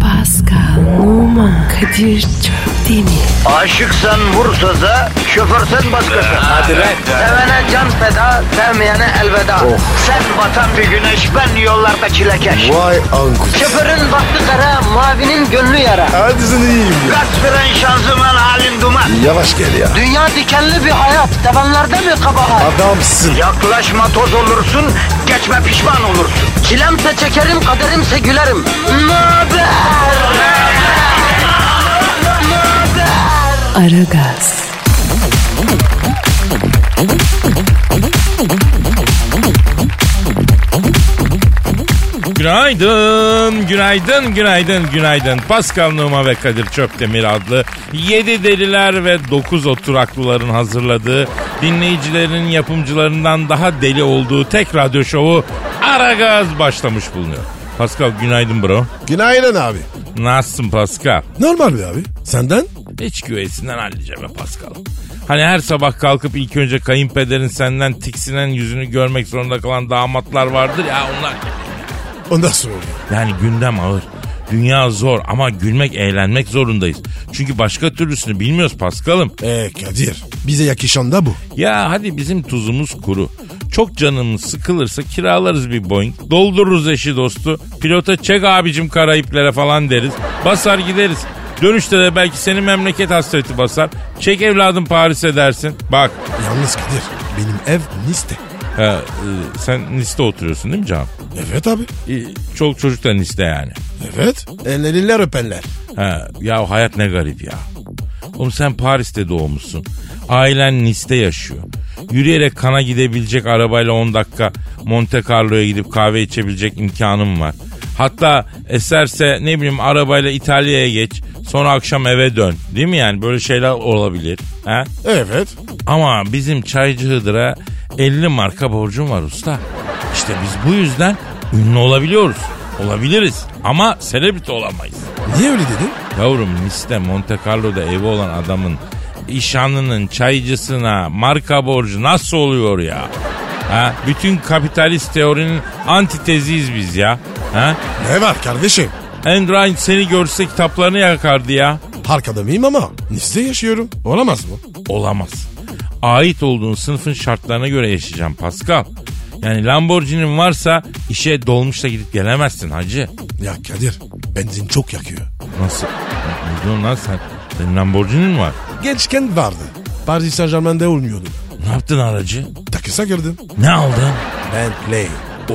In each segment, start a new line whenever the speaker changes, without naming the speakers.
Pascal, Oman, Kadir çok değil mi?
Aşıksan vursa da şoförsen başkasın. Hadi
lan. Oh.
Sevene can feda, sevmeyene elveda. Sen batan bir güneş, ben yollarda çilekeş.
Vay anku.
Şoförün baktı kara, mavinin gönlü yara.
Hadi sen iyiyim ya.
Kasperen şanzıman halin duman.
Yavaş gel ya.
Dünya dikenli bir hayat, sevenlerde mi kabahar?
Adamsın.
Yaklaşma toz olursun, geçme pişman olursun. Çilemse çekerim, kaderimse gülerim. Möber!
Aragaz,
Günaydın, günaydın, günaydın, günaydın. Pascal Numa ve Kadir Çöptemir adlı 7 deliler ve 9 oturaklıların hazırladığı dinleyicilerin yapımcılarından daha deli olduğu tek radyo şovu Aragaz başlamış bulunuyor. Pascal günaydın bro.
Günaydın abi.
Nasılsın Pascal?
Normal bir abi. Senden?
İç güveysinden halledeceğim ben Pascal. Hani her sabah kalkıp ilk önce kayınpederin senden tiksinen yüzünü görmek zorunda kalan damatlar vardır ya onlar gibi.
Ondan sonra. oldu.
Yani gündem ağır. Dünya zor ama gülmek, eğlenmek zorundayız. Çünkü başka türlüsünü bilmiyoruz Paskal'ım.
Ee Kadir. Bize yakışan da bu.
Ya hadi bizim tuzumuz kuru. Çok canımız sıkılırsa kiralarız bir Boeing. Doldururuz eşi dostu. Pilota çek abicim karayiplere falan deriz. Basar gideriz. Dönüşte de belki senin memleket hasreti basar. Çek evladım Paris'e dersin. Bak
Yalnız Kadir. Benim ev Nice'te.
he, e, sen Nice'de oturuyorsun değil mi Can?
Evet abi.
E, çok çocuk da Nice'de yani.
Evet. Elleriyle öpenler.
Ha, ya hayat ne garip ya. Oğlum sen Paris'te doğmuşsun. Ailen Nice'te yaşıyor. Yürüyerek kana gidebilecek arabayla 10 dakika Monte Carlo'ya gidip kahve içebilecek imkanım var. Hatta eserse ne bileyim arabayla İtalya'ya geç. Sonra akşam eve dön. Değil mi yani? Böyle şeyler olabilir. Ha?
Evet.
Ama bizim çaycı Hıdır'a 50 marka borcum var usta. İşte biz bu yüzden ünlü olabiliyoruz. Olabiliriz ama selebriti olamayız.
Niye öyle dedin?
Yavrum Nice'de Monte Carlo'da evi olan adamın işhanının çaycısına marka borcu nasıl oluyor ya? Ha? Bütün kapitalist teorinin antiteziyiz biz ya. Ha?
Ne var kardeşim?
Andrew seni görse kitaplarını yakardı ya.
Arkada mıyım ama Nice'de yaşıyorum. Olamaz mı?
Olamaz. Ait olduğun sınıfın şartlarına göre yaşayacağım Pascal. Yani Lamborghini'nin varsa işe dolmuşla gidip gelemezsin hacı.
Ya Kadir. Benzin çok yakıyor.
Nasıl? Ne diyorsun lan sen? Senin Lamborghini'nin var.
Gençken vardı. Paris Saint Germain'de olmuyordu.
Ne yaptın aracı?
Takısa girdim.
Ne aldın?
Bentley.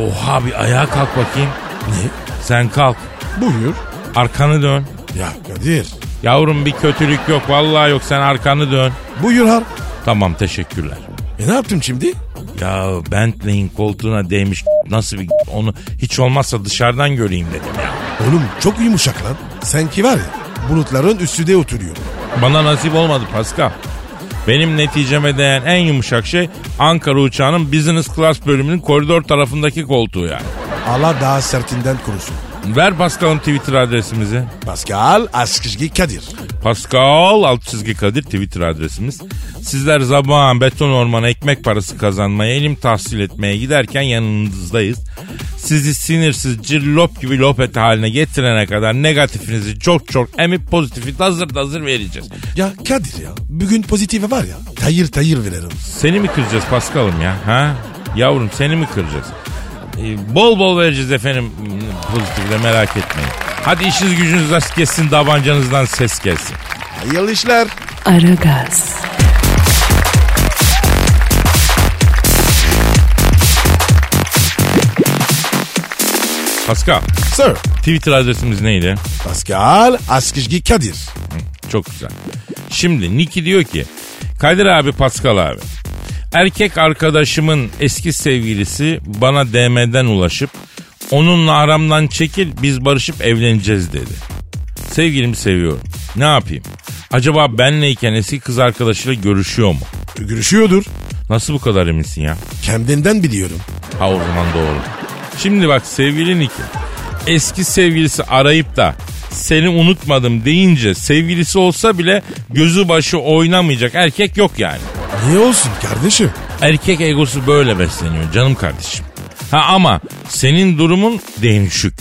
Oha bir ayağa kalk bakayım.
Ne?
Sen kalk.
Buyur.
Arkanı dön.
Ya Kadir.
Yavrum bir kötülük yok. Vallahi yok. Sen arkanı dön.
Buyur har.
Tamam teşekkürler.
E ne yaptım şimdi?
Ya Bentley'in koltuğuna değmiş nasıl bir onu hiç olmazsa dışarıdan göreyim dedim ya.
Oğlum çok yumuşak lan. Sanki var ya bulutların üstüde oturuyor.
Bana nasip olmadı Pascal. Benim neticeme değen en yumuşak şey Ankara uçağının business class bölümünün koridor tarafındaki koltuğu yani.
Allah daha sertinden kurusun.
Ver Pascal'ın Twitter adresimizi.
Pascal Askışgi Kadir.
Pascal alt çizgi Kadir Twitter adresimiz. Sizler zaman beton ormana ekmek parası kazanmaya, elim tahsil etmeye giderken yanınızdayız. Sizi sinirsiz cirlop gibi lopet haline getirene kadar negatifinizi çok çok emip pozitifi hazır hazır vereceğiz.
Ya Kadir ya bugün pozitife var ya tayır tayır veririm.
Seni mi kıracağız Pascal'ım ya? Ha? Yavrum seni mi kıracağız? Ee, bol bol vereceğiz efendim pozitif de merak etmeyin. Hadi işiniz gücünüz rast gelsin, davancanızdan ses gelsin.
Hayırlı işler.
Aragaz,
Pascal,
Sir.
Twitter adresimiz neydi?
Pascal Askışgi Kadir.
Çok güzel. Şimdi Niki diyor ki Kadir abi Pascal abi. Erkek arkadaşımın eski sevgilisi bana DM'den ulaşıp onunla aramdan çekil biz barışıp evleneceğiz dedi. Sevgilimi seviyorum. Ne yapayım? Acaba benleyken eski kız arkadaşıyla görüşüyor mu?
Görüşüyordur.
Nasıl bu kadar eminsin ya?
Kendinden biliyorum.
Ha o zaman doğru. Şimdi bak sevgili Niki. Eski sevgilisi arayıp da seni unutmadım deyince sevgilisi olsa bile gözü başı oynamayacak erkek yok yani.
Niye olsun kardeşim?
Erkek egosu böyle besleniyor canım kardeşim. Ha ama senin durumun değişik.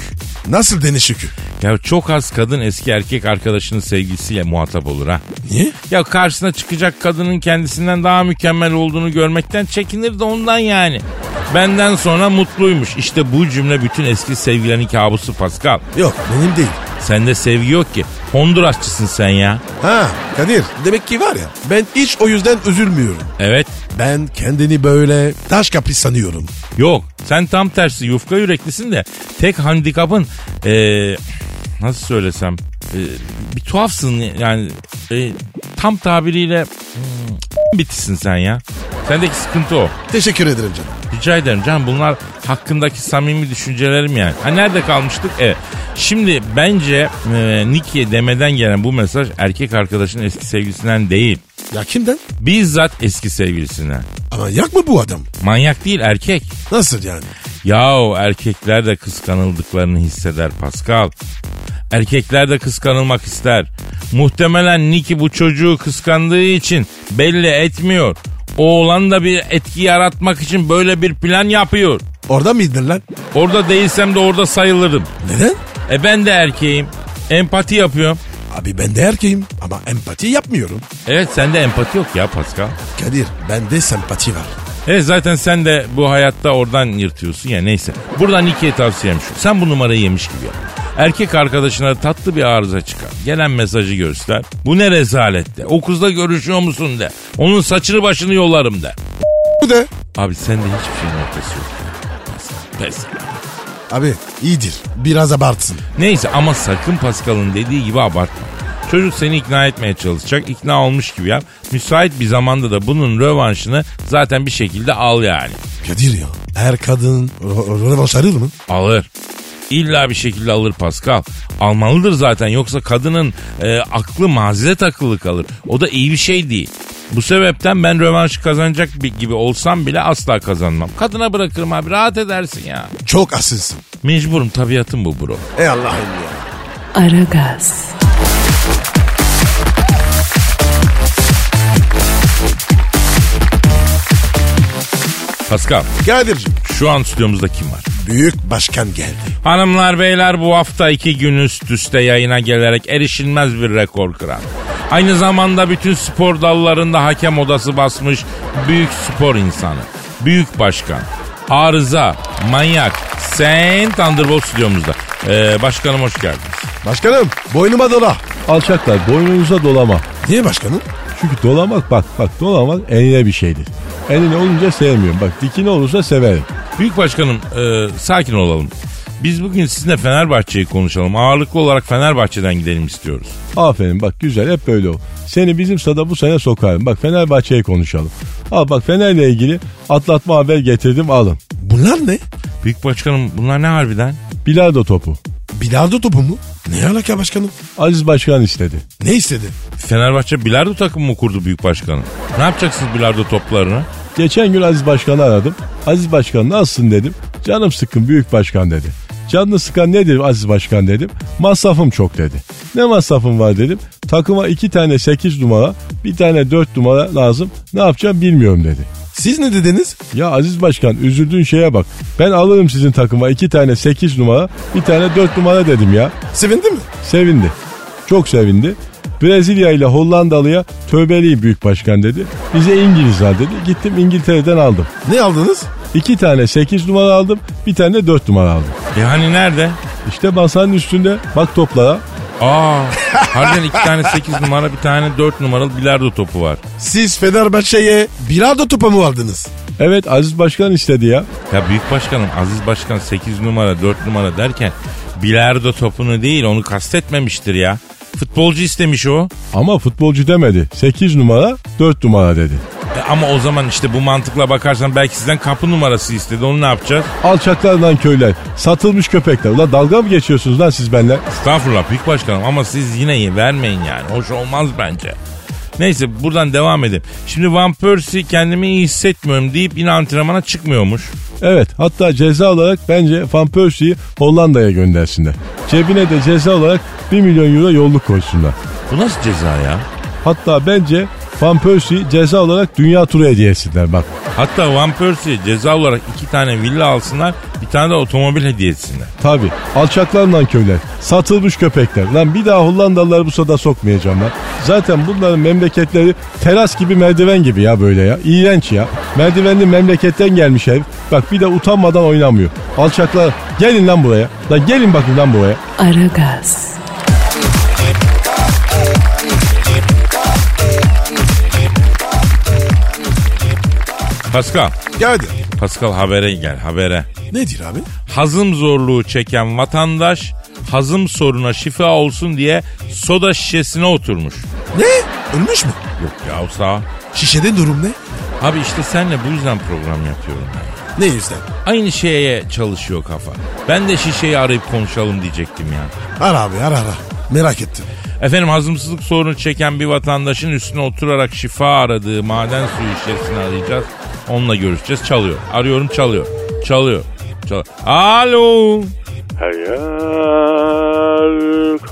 Nasıl deniz şükür?
Ya çok az kadın eski erkek arkadaşının sevgilisiyle muhatap olur ha.
Niye?
Ya karşısına çıkacak kadının kendisinden daha mükemmel olduğunu görmekten çekinir de ondan yani. Benden sonra mutluymuş. İşte bu cümle bütün eski sevgilerin kabusu Pascal.
Yok benim değil.
Sende sevgi yok ki. Hondurasçısın sen ya.
Ha Kadir demek ki var ya ben hiç o yüzden üzülmüyorum.
Evet.
Ben kendini böyle taş kapri sanıyorum.
Yok. Sen tam tersi yufka yüreklisin de tek handikapın eee, nasıl söylesem eee, bir tuhafsın yani eee, tam tabiriyle hmm, bitisin sen ya. Sendeki sıkıntı o.
Teşekkür ederim canım.
Rica ederim canım bunlar hakkındaki samimi düşüncelerim yani. Ha nerede kalmıştık? Evet. Şimdi bence e, Nicky'ye demeden gelen bu mesaj erkek arkadaşının eski sevgilisinden değil.
Ya kimden?
Bizzat eski sevgilisinden.
Ama yak mı bu adam?
Manyak değil erkek.
Nasıl yani?
Yahu erkekler de kıskanıldıklarını hisseder Pascal. Erkekler de kıskanılmak ister. Muhtemelen Nicky bu çocuğu kıskandığı için belli etmiyor. Oğlan da bir etki yaratmak için böyle bir plan yapıyor.
Orada mıydın lan?
Orada değilsem de orada sayılırım.
Neden?
E ben de erkeğim. Empati yapıyorum.
Abi ben de erkeğim ama empati yapmıyorum.
Evet sende empati yok ya Pascal.
Kadir bende sempati var.
Evet zaten sen de bu hayatta oradan yırtıyorsun ya neyse. Buradan ikiye tavsiyem şu. Sen bu numarayı yemiş gibi yap. Erkek arkadaşına tatlı bir arıza çıkar. Gelen mesajı göster. Bu ne rezalet de. Okuzda görüşüyor musun de. Onun saçını başını yolarım de.
Bu da
Abi sende hiçbir şeyin ortası yok. Pes. Pes.
abi iyidir biraz abartsın.
Neyse ama sakın Pascal'ın dediği gibi abartma. Çocuk seni ikna etmeye çalışacak. İkna olmuş gibi yap. Müsait bir zamanda da bunun rövanşını zaten bir şekilde al yani.
Kadir ya her kadın ro- rövanş arıyor mu?
Alır. İlla bir şekilde alır Pascal. Almalıdır zaten yoksa kadının e, aklı mazeret akıllı kalır. O da iyi bir şey değil. Bu sebepten ben rövanşı kazanacak bir- gibi olsam bile asla kazanmam. Kadına bırakırım abi rahat edersin ya.
Çok asılsın.
Mecburum tabiatım bu bro.
Ey Allah'ım ya.
Aragaz,
Pascal
Kadir'cim
şu an stüdyomuzda kim var?
büyük başkan geldi.
Hanımlar beyler bu hafta iki gün üst üste yayına gelerek erişilmez bir rekor kıran. Aynı zamanda bütün spor dallarında hakem odası basmış büyük spor insanı. Büyük başkan. Arıza, manyak, sen Thunderbolt stüdyomuzda. Ee, başkanım hoş geldiniz.
Başkanım boynuma dola.
Alçaklar boynunuza dolama.
Niye başkanım?
Çünkü dolamak bak bak dolamak enine bir şeydir. Enine olunca sevmiyorum. Bak dikine olursa severim.
Büyük başkanım e, sakin olalım. Biz bugün sizinle Fenerbahçe'yi konuşalım. Ağırlıklı olarak Fenerbahçe'den gidelim istiyoruz.
Aferin bak güzel hep böyle ol. Seni bizim sada bu sene sokarım. Bak Fenerbahçe'ye konuşalım. Al bak Fener'le ilgili atlatma haber getirdim alın.
Bunlar ne?
Büyük başkanım bunlar ne harbiden?
Bilardo topu.
Bilardo topu mu? Ne alaka başkanım?
Aziz Başkan istedi.
Ne istedi?
Fenerbahçe bilardo takımı mı kurdu büyük başkanım? Ne yapacaksınız bilardo toplarını?
Geçen gün Aziz Başkan'ı aradım. Aziz Başkan nasılsın dedim. Canım sıkkın büyük başkan dedi. Canını sıkan nedir Aziz Başkan dedim. Masrafım çok dedi. Ne masrafım var dedim. Takıma iki tane 8 numara bir tane 4 numara lazım. Ne yapacağım bilmiyorum dedi.
Siz ne dediniz?
Ya Aziz Başkan üzüldüğün şeye bak. Ben alırım sizin takıma iki tane 8 numara bir tane 4 numara dedim ya.
Sevindi mi?
Sevindi. Çok sevindi. Brezilya ile Hollandalı'ya tövbeliyim büyük başkan dedi. Bize İngilizler dedi. Gittim İngiltere'den aldım.
Ne aldınız?
İki tane 8 numara aldım. Bir tane de 4 numara aldım.
E hani nerede?
İşte masanın üstünde bak toplara.
Aa harbiden iki tane 8 numara bir tane 4 numaralı bilardo topu var.
Siz Fenerbahçe'ye bilardo topu mu aldınız?
Evet Aziz Başkan istedi ya.
Ya büyük başkanım Aziz Başkan 8 numara 4 numara derken bilardo topunu değil onu kastetmemiştir ya. Futbolcu istemiş o.
Ama futbolcu demedi. 8 numara 4 numara dedi.
E ama o zaman işte bu mantıkla bakarsan belki sizden kapı numarası istedi onu ne yapacağız?
Alçaklar lan köyler. Satılmış köpekler. Ulan dalga mı geçiyorsunuz lan siz benimle?
Estağfurullah büyük başkanım ama siz yine iyi vermeyin yani. Hoş olmaz bence. Neyse buradan devam edelim. Şimdi Van Persie kendimi iyi hissetmiyorum deyip yine antrenmana çıkmıyormuş.
Evet hatta ceza olarak bence Van Persie'yi Hollanda'ya göndersinler. Cebine de ceza olarak 1 milyon euro yolluk koysunlar.
Bu nasıl ceza ya?
Hatta bence Van Persie ceza olarak dünya turu hediyesinden bak.
Hatta Van Persie'ye ceza olarak iki tane villa alsınlar bir tane de otomobil hediye etsinler.
Tabi alçaklar lan köyler. Satılmış köpekler. Lan bir daha Hollandalıları bu sada sokmayacağım lan. Zaten bunların memleketleri teras gibi merdiven gibi ya böyle ya. İğrenç ya. Merdivenli memleketten gelmiş herif. Bak bir de utanmadan oynamıyor. Alçaklar gelin lan buraya. Lan gelin bakın lan buraya.
Aragaz,
Pascal,
Geldi.
Pascal habere gel habere.
Nedir abi?
Hazım zorluğu çeken vatandaş hazım soruna şifa olsun diye soda şişesine oturmuş.
Ne? Ölmüş mü?
Yok ya sağ.
Şişede durum ne?
Abi işte senle bu yüzden program yapıyorum ben.
Ne yüzden?
Aynı şeye çalışıyor kafa. Ben de şişeyi arayıp konuşalım diyecektim ya.
Ara abi ara ara. Merak ettim.
Efendim hazımsızlık sorunu çeken bir vatandaşın üstüne oturarak şifa aradığı maden suyu şişesini arayacağız. Onunla görüşeceğiz. Çalıyor. Arıyorum çalıyor. Çalıyor. Çalıyor. Alo.
Her yer karanlık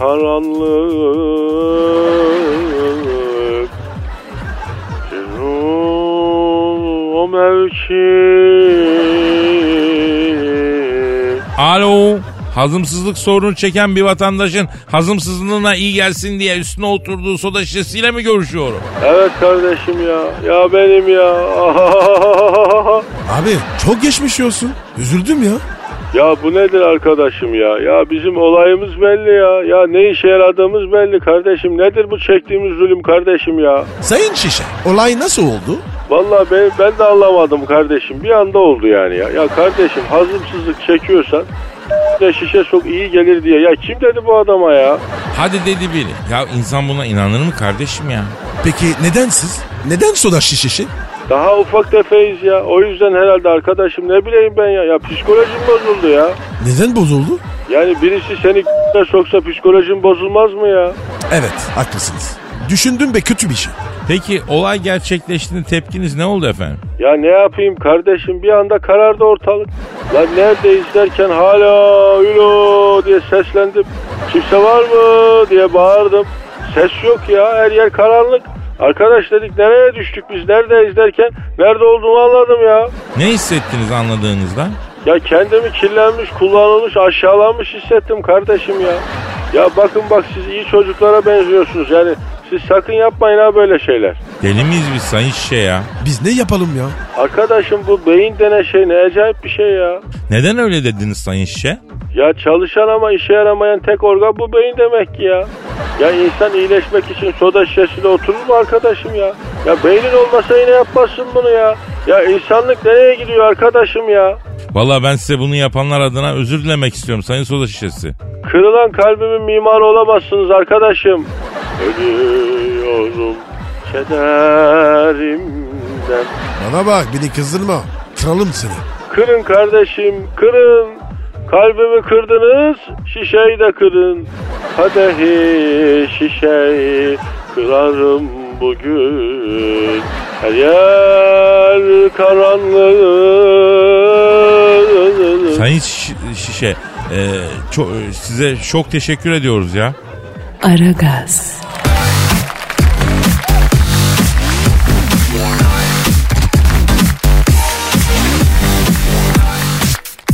Bir ruh o mevki
Alo. Hazımsızlık sorunu çeken bir vatandaşın hazımsızlığına iyi gelsin diye üstüne oturduğu soda şişesiyle mi görüşüyorum?
Evet kardeşim ya ya benim ya
Abi çok geçmiş olsun. Üzüldüm ya.
Ya bu nedir arkadaşım ya ya bizim olayımız belli ya ya ne işe yaradığımız belli kardeşim nedir bu çektiğimiz zulüm kardeşim ya
Sayın Şişe olay nasıl oldu?
Vallahi ben, ben de anlamadım kardeşim. Bir anda oldu yani ya. Ya kardeşim hazımsızlık çekiyorsan de şişe sok iyi gelir diye. Ya kim dedi bu adama ya?
Hadi dedi biri. Ya insan buna inanır mı kardeşim ya?
Peki neden siz? Neden soda şişesi?
Daha ufak tefeyiz ya. O yüzden herhalde arkadaşım ne bileyim ben ya. Ya psikolojim bozuldu ya.
Neden bozuldu?
Yani birisi seni soksa psikolojin bozulmaz mı ya?
Evet haklısınız. Düşündüm be kötü bir şey.
Peki olay gerçekleştiğinde tepkiniz ne oldu efendim?
Ya ne yapayım kardeşim bir anda karardı ortalık. Lan neredeyiz derken hala ülo diye seslendim. Kimse var mı diye bağırdım. Ses yok ya her yer karanlık. Arkadaş dedik nereye düştük biz neredeyiz derken nerede olduğumu anladım ya.
Ne hissettiniz anladığınızda?
Ya kendimi kirlenmiş, kullanılmış, aşağılanmış hissettim kardeşim ya. Ya bakın bak siz iyi çocuklara benziyorsunuz yani. Siz sakın yapmayın ha böyle şeyler.
Deli miyiz biz sayın şişe ya?
Biz ne yapalım ya?
Arkadaşım bu beyin denen şey ne acayip bir şey ya.
Neden öyle dediniz sayın şişe?
Ya çalışan ama işe yaramayan tek organ bu beyin demek ki ya. Ya insan iyileşmek için soda şişesine oturur mu arkadaşım ya? Ya beynin olmasa yine yapmazsın bunu ya. Ya insanlık nereye gidiyor arkadaşım ya?
Valla ben size bunu yapanlar adına özür dilemek istiyorum sayın soda şişesi.
Kırılan kalbimin mimarı olamazsınız arkadaşım. Ölüyorum kederimden.
Bana bak beni kızdırma. Kralım seni.
Kırın kardeşim kırın. Kalbimi kırdınız şişeyi de kırın. Kadehi şişeyi kırarım bugün. Her yer karanlık.
Sayın Şiş- şişe e, ço- size çok teşekkür ediyoruz ya.
Aragaz,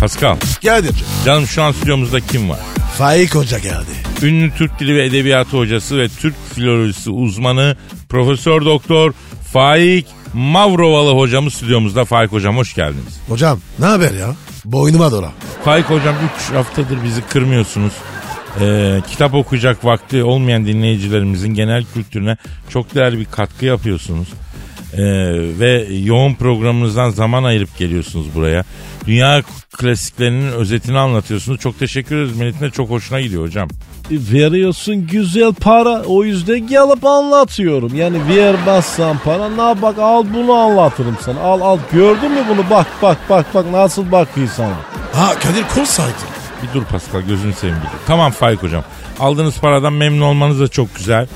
Pascal
Geldi.
canım şu an stüdyomuzda kim var?
Faik Hoca geldi.
Ünlü Türk Dili ve Edebiyatı hocası ve Türk Filolojisi uzmanı Profesör Doktor Faik Mavrovalı hocamız stüdyomuzda. Faik hocam hoş geldiniz.
Hocam ne haber ya? Boynuma dola.
Faik hocam 3 haftadır bizi kırmıyorsunuz. Ee, kitap okuyacak vakti olmayan dinleyicilerimizin genel kültürüne çok değerli bir katkı yapıyorsunuz. Ee, ve yoğun programınızdan zaman ayırıp geliyorsunuz buraya. Dünya klasiklerinin özetini anlatıyorsunuz. Çok teşekkür ederiz. Milletin de çok hoşuna gidiyor hocam.
E, Veriyorsun güzel para o yüzden gelip anlatıyorum. Yani vermezsen para ne bak al bunu anlatırım sana. Al al gördün mü bunu bak bak bak bak nasıl bakıyor sana.
Ha Kadir kol saydı.
Bir dur Pascal gözünü seveyim bir dur. Tamam Faik hocam. Aldığınız paradan memnun olmanız da çok güzel.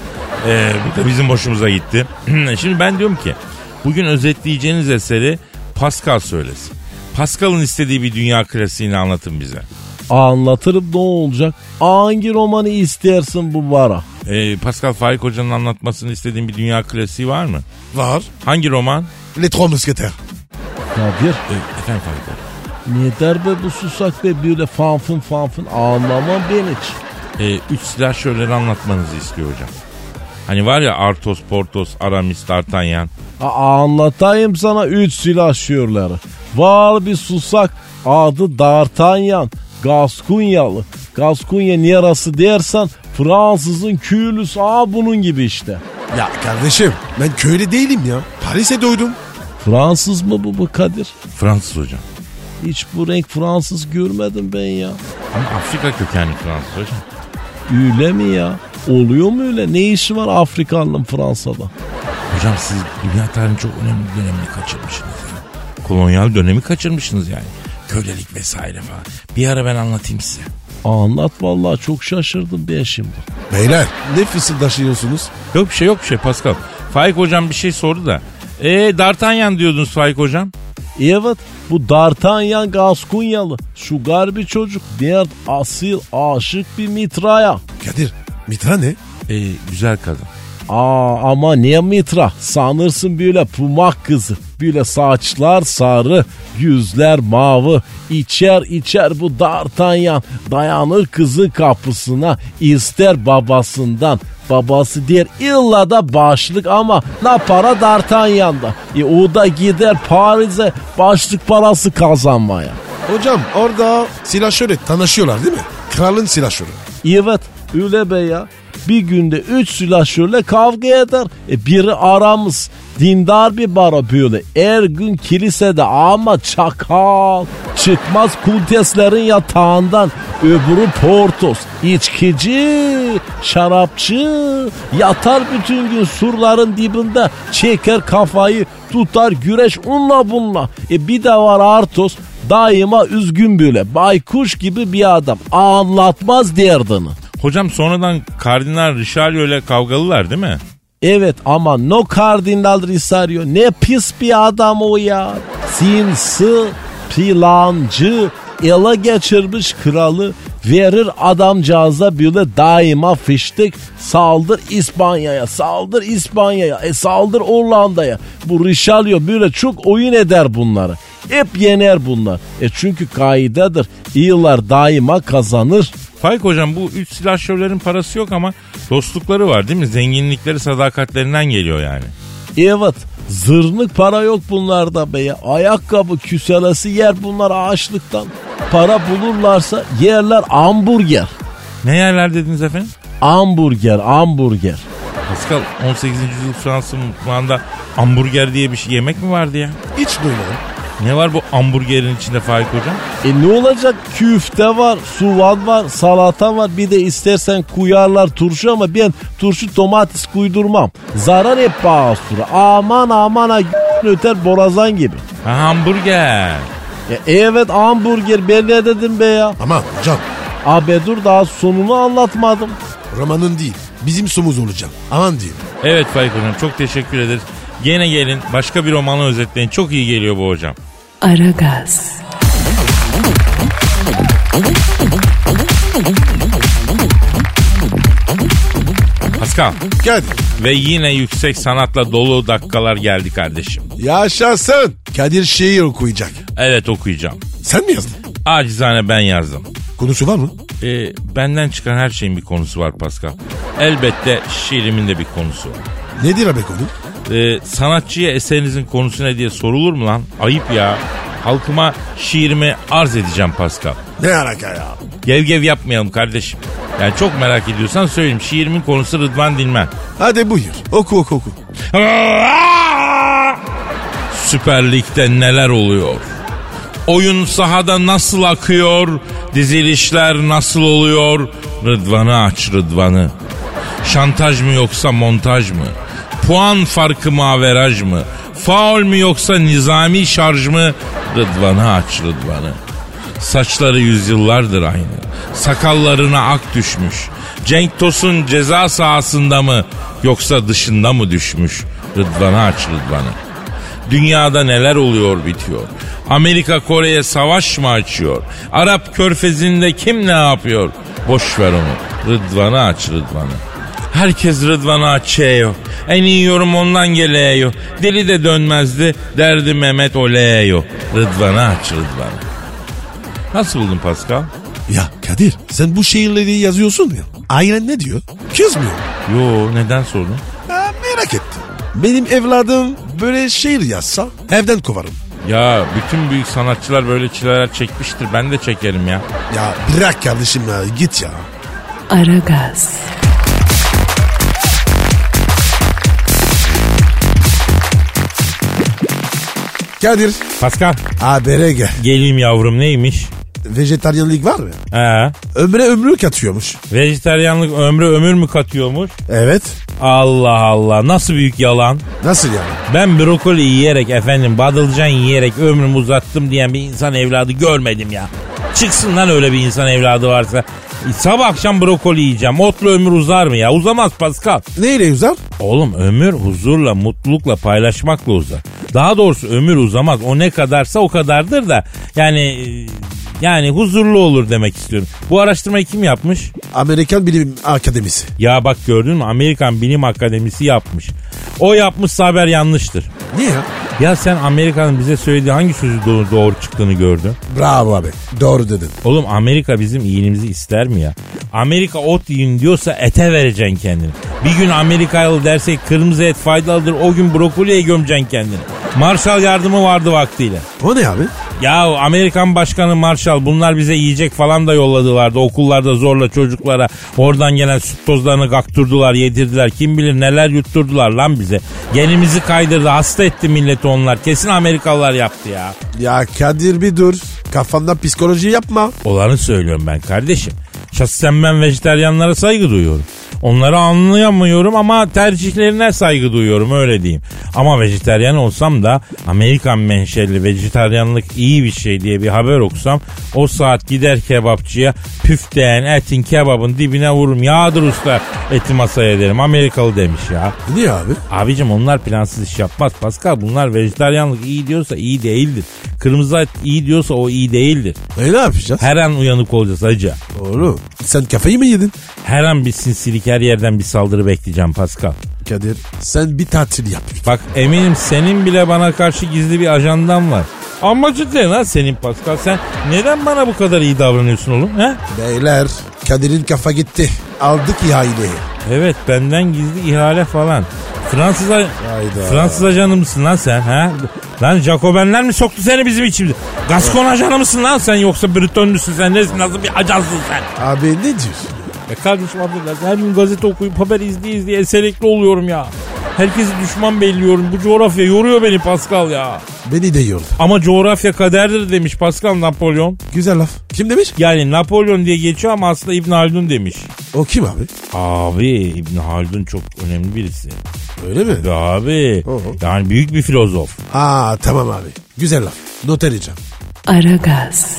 Ee, bu da bizim hoşumuza gitti. Şimdi ben diyorum ki bugün özetleyeceğiniz eseri Pascal söylesin. Pascal'ın istediği bir dünya klasiğini anlatın bize.
Anlatırım ne olacak? Hangi romanı istersin bu vara?
Ee, Pascal Faik Hoca'nın anlatmasını istediğin bir dünya klasiği var mı?
Var.
Hangi roman?
Les Trois Mousquetaires.
Kadir
Ee, efendim Faik Bey.
neden be bu susak ve böyle fanfın fanfın ağlama beni.
Ee, üç silahşörleri anlatmanızı istiyor hocam. Hani var ya Artos, Portos, Aramis, D'Artagnan.
A- anlatayım sana üç silah şiirleri. Var bir susak adı D'Artagnan. Gaskunyalı. Gaskunya yarası dersen Fransızın küylüsü a bunun gibi işte.
Ya kardeşim ben köylü değilim ya. Paris'e doydum.
Fransız mı bu bu Kadir?
Fransız hocam.
Hiç bu renk Fransız görmedim ben ya.
Ama Afrika kökenli Fransız hocam.
Öyle mi ya? Oluyor mu öyle? Ne işi var Afrikanlının Fransa'da?
Hocam siz dünya tarihinin çok önemli bir dönemini kaçırmışsınız. ya. Kolonyal dönemi kaçırmışsınız yani. Kölelik vesaire falan. Bir ara ben anlatayım size.
Anlat vallahi çok şaşırdım ben şimdi.
Beyler ne fısıldaşıyorsunuz?
Yok bir şey yok bir şey Pascal. Faik hocam bir şey sordu da. Eee D'Artagnan diyordunuz Faik hocam.
Evet bu D'Artagnan Gaskunyalı. Şu garbi çocuk dert asil aşık bir mitraya.
Kadir Mitra ne?
Ee, güzel kadın.
Aa ama ne mitra sanırsın böyle pumak kızı. Böyle saçlar sarı, yüzler mavi. İçer içer bu D'Artagnan. Dayanır kızı kapısına ister babasından. Babası der illa da başlık ama ne para D'Artagnan'da. E, o da gider Paris'e başlık parası kazanmaya.
Hocam orada silahşörle tanışıyorlar değil mi? Kralın silahşörü.
Evet öyle be ya. Bir günde üç silahşörle kavga eder. E, biri aramız. Dindar bir bara böyle. Her gün kilisede ama çakal. Çıkmaz kulteslerin yatağından. Öbürü Portos. içkici, şarapçı. Yatar bütün gün surların dibinde. Çeker kafayı. Tutar güreş onunla bununla. E, bir de var Artos. Daima üzgün böyle baykuş gibi bir adam anlatmaz derdini.
Hocam sonradan Kardinal Richelieu ile kavgalılar değil mi?
Evet ama no kardinal Risario ne pis bir adam o ya. Sinsi, plancı, ele geçirmiş kralı verir adamcağıza böyle daima fiştik saldır İspanya'ya saldır İspanya'ya e saldır Hollanda'ya bu Richelieu böyle çok oyun eder bunları hep yener bunlar e çünkü kaidedir iyiler daima kazanır
Faik hocam bu üç silahşörlerin parası yok ama dostlukları var değil mi? Zenginlikleri sadakatlerinden geliyor yani.
Evet. Zırnık para yok bunlarda be ya. Ayakkabı küselesi yer bunlar ağaçlıktan. Para bulurlarsa yerler hamburger.
Ne yerler dediniz efendim?
Hamburger, hamburger.
Pascal 18. yüzyıl Fransız mutfağında hamburger diye bir şey yemek mi vardı ya?
Hiç duymadım.
Ne var bu hamburgerin içinde Faik hocam?
E ne olacak? Küfte var, suvan var, salata var. Bir de istersen kuyarlar turşu ama ben turşu domates kuydurmam. Zarar hep basura. Aman aman ha öter borazan gibi.
Ha, hamburger.
E, evet hamburger ben ne dedim be ya.
Aman hocam
Abi dur daha sonunu anlatmadım.
romanın değil bizim somuz olacak. Aman diyeyim.
Evet Faik hocam çok teşekkür ederiz. Gene gelin başka bir romanı özetleyin. Çok iyi geliyor bu hocam.
Aragaz,
Pascal
Kadir
ve yine yüksek sanatla dolu dakikalar geldi kardeşim.
yaşasın. Kadir şiir okuyacak.
Evet okuyacağım.
Sen mi yazdın?
Acizane ben yazdım.
Konusu var mı?
Ee, benden çıkan her şeyin bir konusu var Pascal. Elbette şiirimin de bir konusu var.
Nedir abi konu?
Ee, sanatçıya eserinizin konusu ne diye sorulur mu lan? Ayıp ya. Halkıma şiirimi arz edeceğim Pascal.
Ne alaka ya?
Gev gev yapmayalım kardeşim. Yani çok merak ediyorsan söyleyeyim. Şiirimin konusu Rıdvan Dilmen.
Hadi buyur. Oku oku oku.
Süper Lig'de neler oluyor? Oyun sahada nasıl akıyor? Dizilişler nasıl oluyor? Rıdvan'ı aç Rıdvan'ı. Şantaj mı yoksa montaj mı? Puan farkı mı averaj mı? Faul mü yoksa nizami şarj mı? Rıdvan'ı aç Rıdvan'ı. Saçları yüzyıllardır aynı. Sakallarına ak düşmüş. Cenk Tosun ceza sahasında mı yoksa dışında mı düşmüş? Rıdvan'ı aç Rıdvan'ı. Dünyada neler oluyor bitiyor. Amerika Kore'ye savaş mı açıyor? Arap körfezinde kim ne yapıyor? Boş ver onu. Rıdvan'ı aç Rıdvan'ı. Herkes Rıdvan'ı açıyor. En iyi yorum ondan geliyor. Deli de dönmezdi. Derdi Mehmet oleyo. Rıdvan'ı aç Rıdvan'ı. Nasıl buldun Pascal?
Ya Kadir sen bu şiirleri yazıyorsun ya. Aynen ne diyor? Kızmıyor.
Yo neden sordun?
Ha, merak ettim. Benim evladım böyle şiir yazsa evden kovarım.
Ya bütün büyük sanatçılar böyle çileler çekmiştir. Ben de çekerim ya.
Ya bırak kardeşim ya git ya.
Aragaz,
Kadir
Pascal
habere gel.
geleyim yavrum neymiş?
Vejetaryenlik var mı?
He.
Ömre ömrü katıyormuş.
Vejeteryanlık ömrü ömür mü katıyormuş?
Evet.
Allah Allah nasıl büyük yalan.
Nasıl yani?
Ben brokoli yiyerek efendim badılcan yiyerek ömrümü uzattım diyen bir insan evladı görmedim ya. Çıksın lan öyle bir insan evladı varsa. E, Sabah akşam brokoli yiyeceğim. Otla ömür uzar mı ya? Uzamaz Pascal.
Neyle yüzer?
Oğlum ömür huzurla, mutlulukla, paylaşmakla uzar. Daha doğrusu ömür uzamaz. O ne kadarsa o kadardır da. Yani e, yani huzurlu olur demek istiyorum. Bu araştırmayı kim yapmış?
Amerikan Bilim Akademisi.
Ya bak gördün mü Amerikan Bilim Akademisi yapmış. O yapmışsa haber yanlıştır.
Niye ya?
Ya sen Amerika'nın bize söylediği hangi sözü doğru, doğru çıktığını gördün?
Bravo abi. Doğru dedin.
Oğlum Amerika bizim iyiliğimizi ister mi ya? Amerika ot yiyin diyorsa ete vereceksin kendini. Bir gün Amerikalı dersek kırmızı et faydalıdır o gün brokoliye gömeceksin kendini. Marshall yardımı vardı vaktiyle.
O ne abi?
Ya Amerikan Başkanı Marshall bunlar bize yiyecek falan da yolladılardı. Okullarda zorla çocuklara oradan gelen süt tozlarını kaktırdılar, yedirdiler. Kim bilir neler yutturdular lan bize. Genimizi kaydırdı, hasta etti milleti onlar. Kesin Amerikalılar yaptı ya.
Ya Kadir bir dur. Kafanda psikoloji yapma.
Olanı söylüyorum ben kardeşim. Şahsen ben vejeteryanlara saygı duyuyorum. Onları anlayamıyorum ama tercihlerine saygı duyuyorum öyle diyeyim. Ama vejeteryan olsam da Amerikan menşeli vejeteryanlık iyi bir şey diye bir haber okusam o saat gider kebapçıya püf diyen etin kebabın dibine vururum. Yağdır usta eti masaya derim Amerikalı demiş ya.
Niye abi?
Abicim onlar plansız iş yapmaz. Pascal bunlar vejeteryanlık iyi diyorsa iyi değildir. Kırmızı et iyi diyorsa o iyi değildir.
E ne yapacağız?
Her an uyanık olacağız hacı.
Oğlum sen kafayı mı yedin?
Her an bir sinsilik her yerden bir saldırı bekleyeceğim Pascal.
Kadir sen bir tatil yap.
Bak eminim senin bile bana karşı gizli bir ajandan var. Ama cidden ha senin Pascal sen neden bana bu kadar iyi davranıyorsun oğlum he?
Beyler Kadir'in kafa gitti. Aldık ihaleyi.
Evet benden gizli ihale falan. Fransız, a-
Hayda.
Fransız ajanı mısın lan sen ha? Lan Jacobenler mi soktu seni bizim içimize? Gaskon ajanı mısın lan sen yoksa Breton musun sen? Nesin nasıl bir ajansın sen?
Abi ne diyorsun?
Ya E kardeşim affedersin her gün gazete okuyup haber izleye izleye eserekli oluyorum ya. Herkesi düşman belliyorum. Bu coğrafya yoruyor beni Pascal ya.
Beni de yordu.
Ama coğrafya kaderdir demiş Pascal Napolyon.
Güzel laf. Kim demiş?
Yani Napolyon diye geçiyor ama aslında İbn Haldun demiş.
O kim abi?
Abi İbn Haldun çok önemli birisi.
Öyle mi?
Ve abi
Oho.
yani büyük bir filozof.
Aa tamam abi. Güzel laf. Not edeceğim.
Aragaz,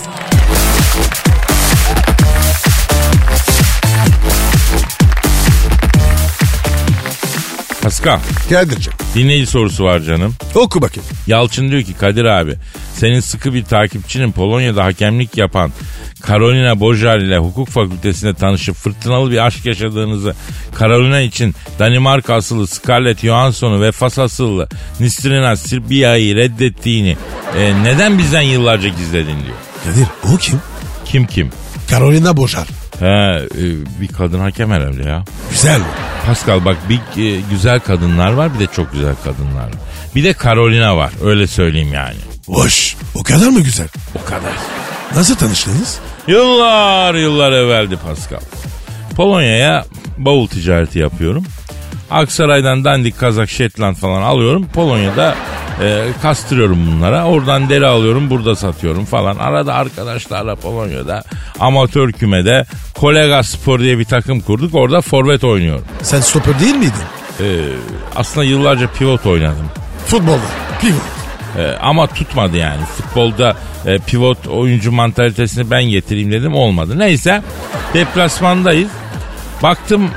Pascal
Kadir'cim
dinleyici sorusu var canım.
oku bakayım.
Yalçın diyor ki Kadir abi senin sıkı bir takipçinin Polonya'da hakemlik yapan Carolina Bojar ile hukuk fakültesinde tanışıp fırtınalı bir aşk yaşadığınızı Carolina için Danimarka asıllı Scarlett Johansson'u ve Fas asıllı Nistrina Sirbia'yı reddettiğini e, neden bizden yıllarca gizledin diyor.
Kadir o kim?
Kim kim?
Carolina Bojar.
He e, bir kadın hakem herhalde ya.
Güzel mi?
Pascal bak bir e, güzel kadınlar var bir de çok güzel kadınlar var. Bir de Carolina var öyle söyleyeyim yani.
Hoş. O kadar mı güzel?
O kadar.
Nasıl tanıştınız?
Yıllar yıllar evveldi Pascal. Polonya'ya bavul ticareti yapıyorum. Aksaray'dan dandik kazak şetland falan alıyorum. Polonya'da e, kastırıyorum bunlara. Oradan deri alıyorum burada satıyorum falan. Arada arkadaşlarla Polonya'da amatör kümede Kolega Spor diye bir takım kurduk. Orada forvet oynuyorum.
Sen stoper değil miydin?
E, aslında yıllarca pivot oynadım.
Futbolda. Pivot.
E, ama tutmadı yani. Futbolda e, pivot oyuncu mantalitesini ben getireyim dedim olmadı. Neyse deplasmandayız. Baktım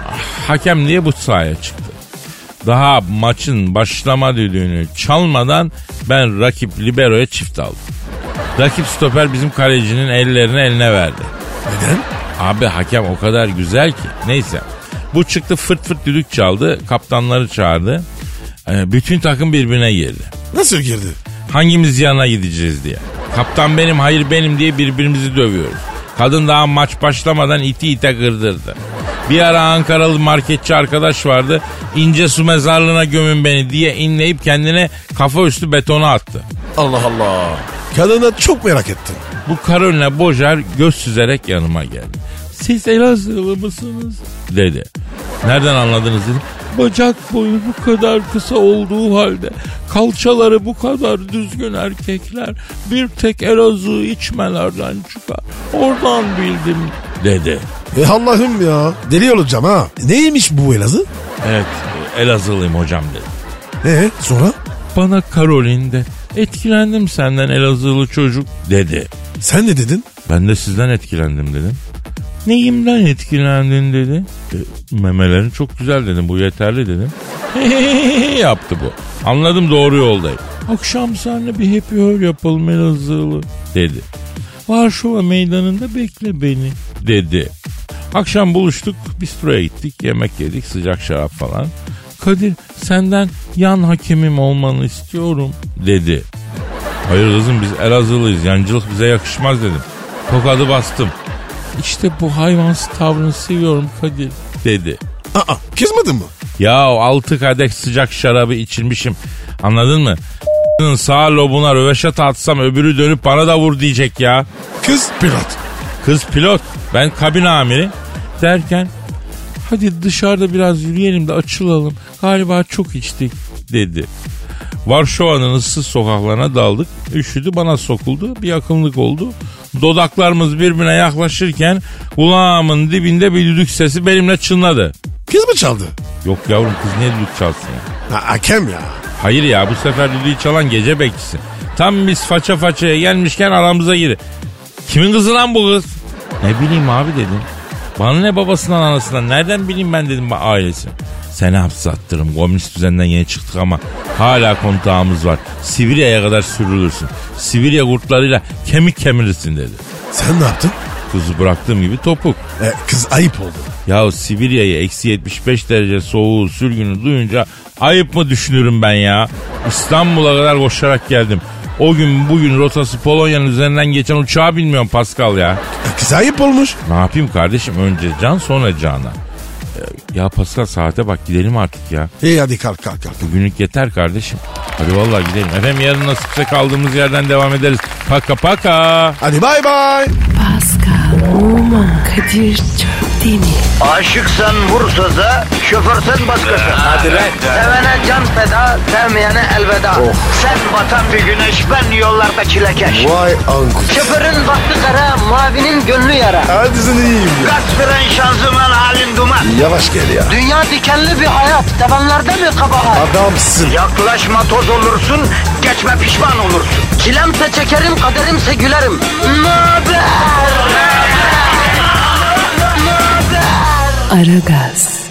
hakem diye bu sahaya çıktı. Daha maçın başlama düdüğünü çalmadan ben rakip liberoya çift aldım. Rakip stoper bizim kalecinin ellerini eline verdi.
Neden?
Abi hakem o kadar güzel ki. Neyse. Bu çıktı fırt fırt düdük çaldı. Kaptanları çağırdı. Ee, bütün takım birbirine girdi.
Nasıl girdi?
Hangimiz yana gideceğiz diye. Kaptan benim hayır benim diye birbirimizi dövüyoruz. Kadın daha maç başlamadan iti ite kırdırdı. Bir ara Ankaralı marketçi arkadaş vardı. İnce su mezarlığına gömün beni diye inleyip kendine kafa üstü betona attı.
Allah Allah. Kadına çok merak ettim.
Bu Karolina Bojar göz süzerek yanıma geldi. Siz Elazığlı mısınız? dedi. Nereden anladınız dedim. Bacak boyu bu kadar kısa olduğu halde kalçaları bu kadar düzgün erkekler bir tek Elazığ içmelerden çıkar. Oradan bildim dedi.
E Allah'ım ya. Deli olacağım ha. E Neymiş bu Elazığ?
Evet Elazığlıyım hocam dedi.
E sonra?
Bana Karolin de etkilendim senden Elazığlı çocuk dedi.
Sen ne dedin?
Ben de sizden etkilendim dedim. Neyimden etkilendin dedi. E, memelerin çok güzel dedim bu yeterli dedim. yaptı bu. Anladım doğru yoldayım. Akşam seninle bir happy hour yapalım Elazığlı dedi. Varşova meydanında bekle beni dedi. Akşam buluştuk bistroya gittik yemek yedik sıcak şarap falan. Kadir senden yan hakemim olmanı istiyorum dedi. Hayır kızım biz Elazığlıyız yancılık bize yakışmaz dedim. Tokadı bastım. İşte bu hayvansı tavrını seviyorum Kadir dedi.
Aa kızmadın mı?
Ya altı kadeh sıcak şarabı içilmişim anladın mı? sağ lobuna röveşat atsam öbürü dönüp bana da vur diyecek ya.
Kız pilot.
Kız pilot ben kabin amiri derken hadi dışarıda biraz yürüyelim de açılalım galiba çok içtik dedi. Varşova'nın ıssız sokaklarına daldık. Üşüdü bana sokuldu. Bir yakınlık oldu. Dodaklarımız birbirine yaklaşırken kulağımın dibinde bir düdük sesi benimle çınladı.
Kız mı çaldı?
Yok yavrum kız niye düdük çalsın ya?
Ha, hakem ya.
Hayır ya bu sefer düdüğü çalan gece bekçisi. Tam biz faça façaya gelmişken aramıza girdi. Kimin kızı lan bu kız? Ne bileyim abi dedim. Bana ne babasından anasından nereden bileyim ben dedim ba- ailesi. Seni hapse attırırım. Komünist düzenden yeni çıktık ama hala kontağımız var. Sibirya'ya kadar sürülürsün. Sibirya kurtlarıyla kemik kemirirsin dedi.
Sen ne yaptın?
Kızı bıraktığım gibi topuk.
E, kız ayıp oldu.
Ya Sibirya'yı eksi 75 derece soğuğu sürgünü duyunca ayıp mı düşünürüm ben ya? İstanbul'a kadar koşarak geldim. O gün bugün rotası Polonya'nın üzerinden geçen uçağı bilmiyorum Pascal ya.
E, kız ayıp olmuş.
Ne yapayım kardeşim önce can sonra cana. Ee, Ya Pascal saate bak gidelim artık ya.
İyi hadi kalk kalk kalk.
Bugünlük yeter kardeşim. Hadi vallahi gidelim. Efendim yarın nasipse kaldığımız yerden devam ederiz. Paka paka.
Hadi bay bay.
Pascal, Oman, Kadir çok değil mi?
Aşıksan vursa da, şoförsen başkasın. Hadi Sevene can feda, sevmeyene elveda. Sen batan bir güneş, ben yollarda çilekeş.
Vay anku.
Şoförün baktı kara, mavinin gönlü yara.
Hadi sen iyiyim ya.
Kasperen şanzıman halin duman.
Yavaş gel ya.
Dünya dikenli bir hayat, sevenlerde mi kabahar?
Adamsın.
Yaklaşma toz olursun, geçme pişman olursun. Çilemse çekerim, kaderimse gülerim. Möber!
Aragaz.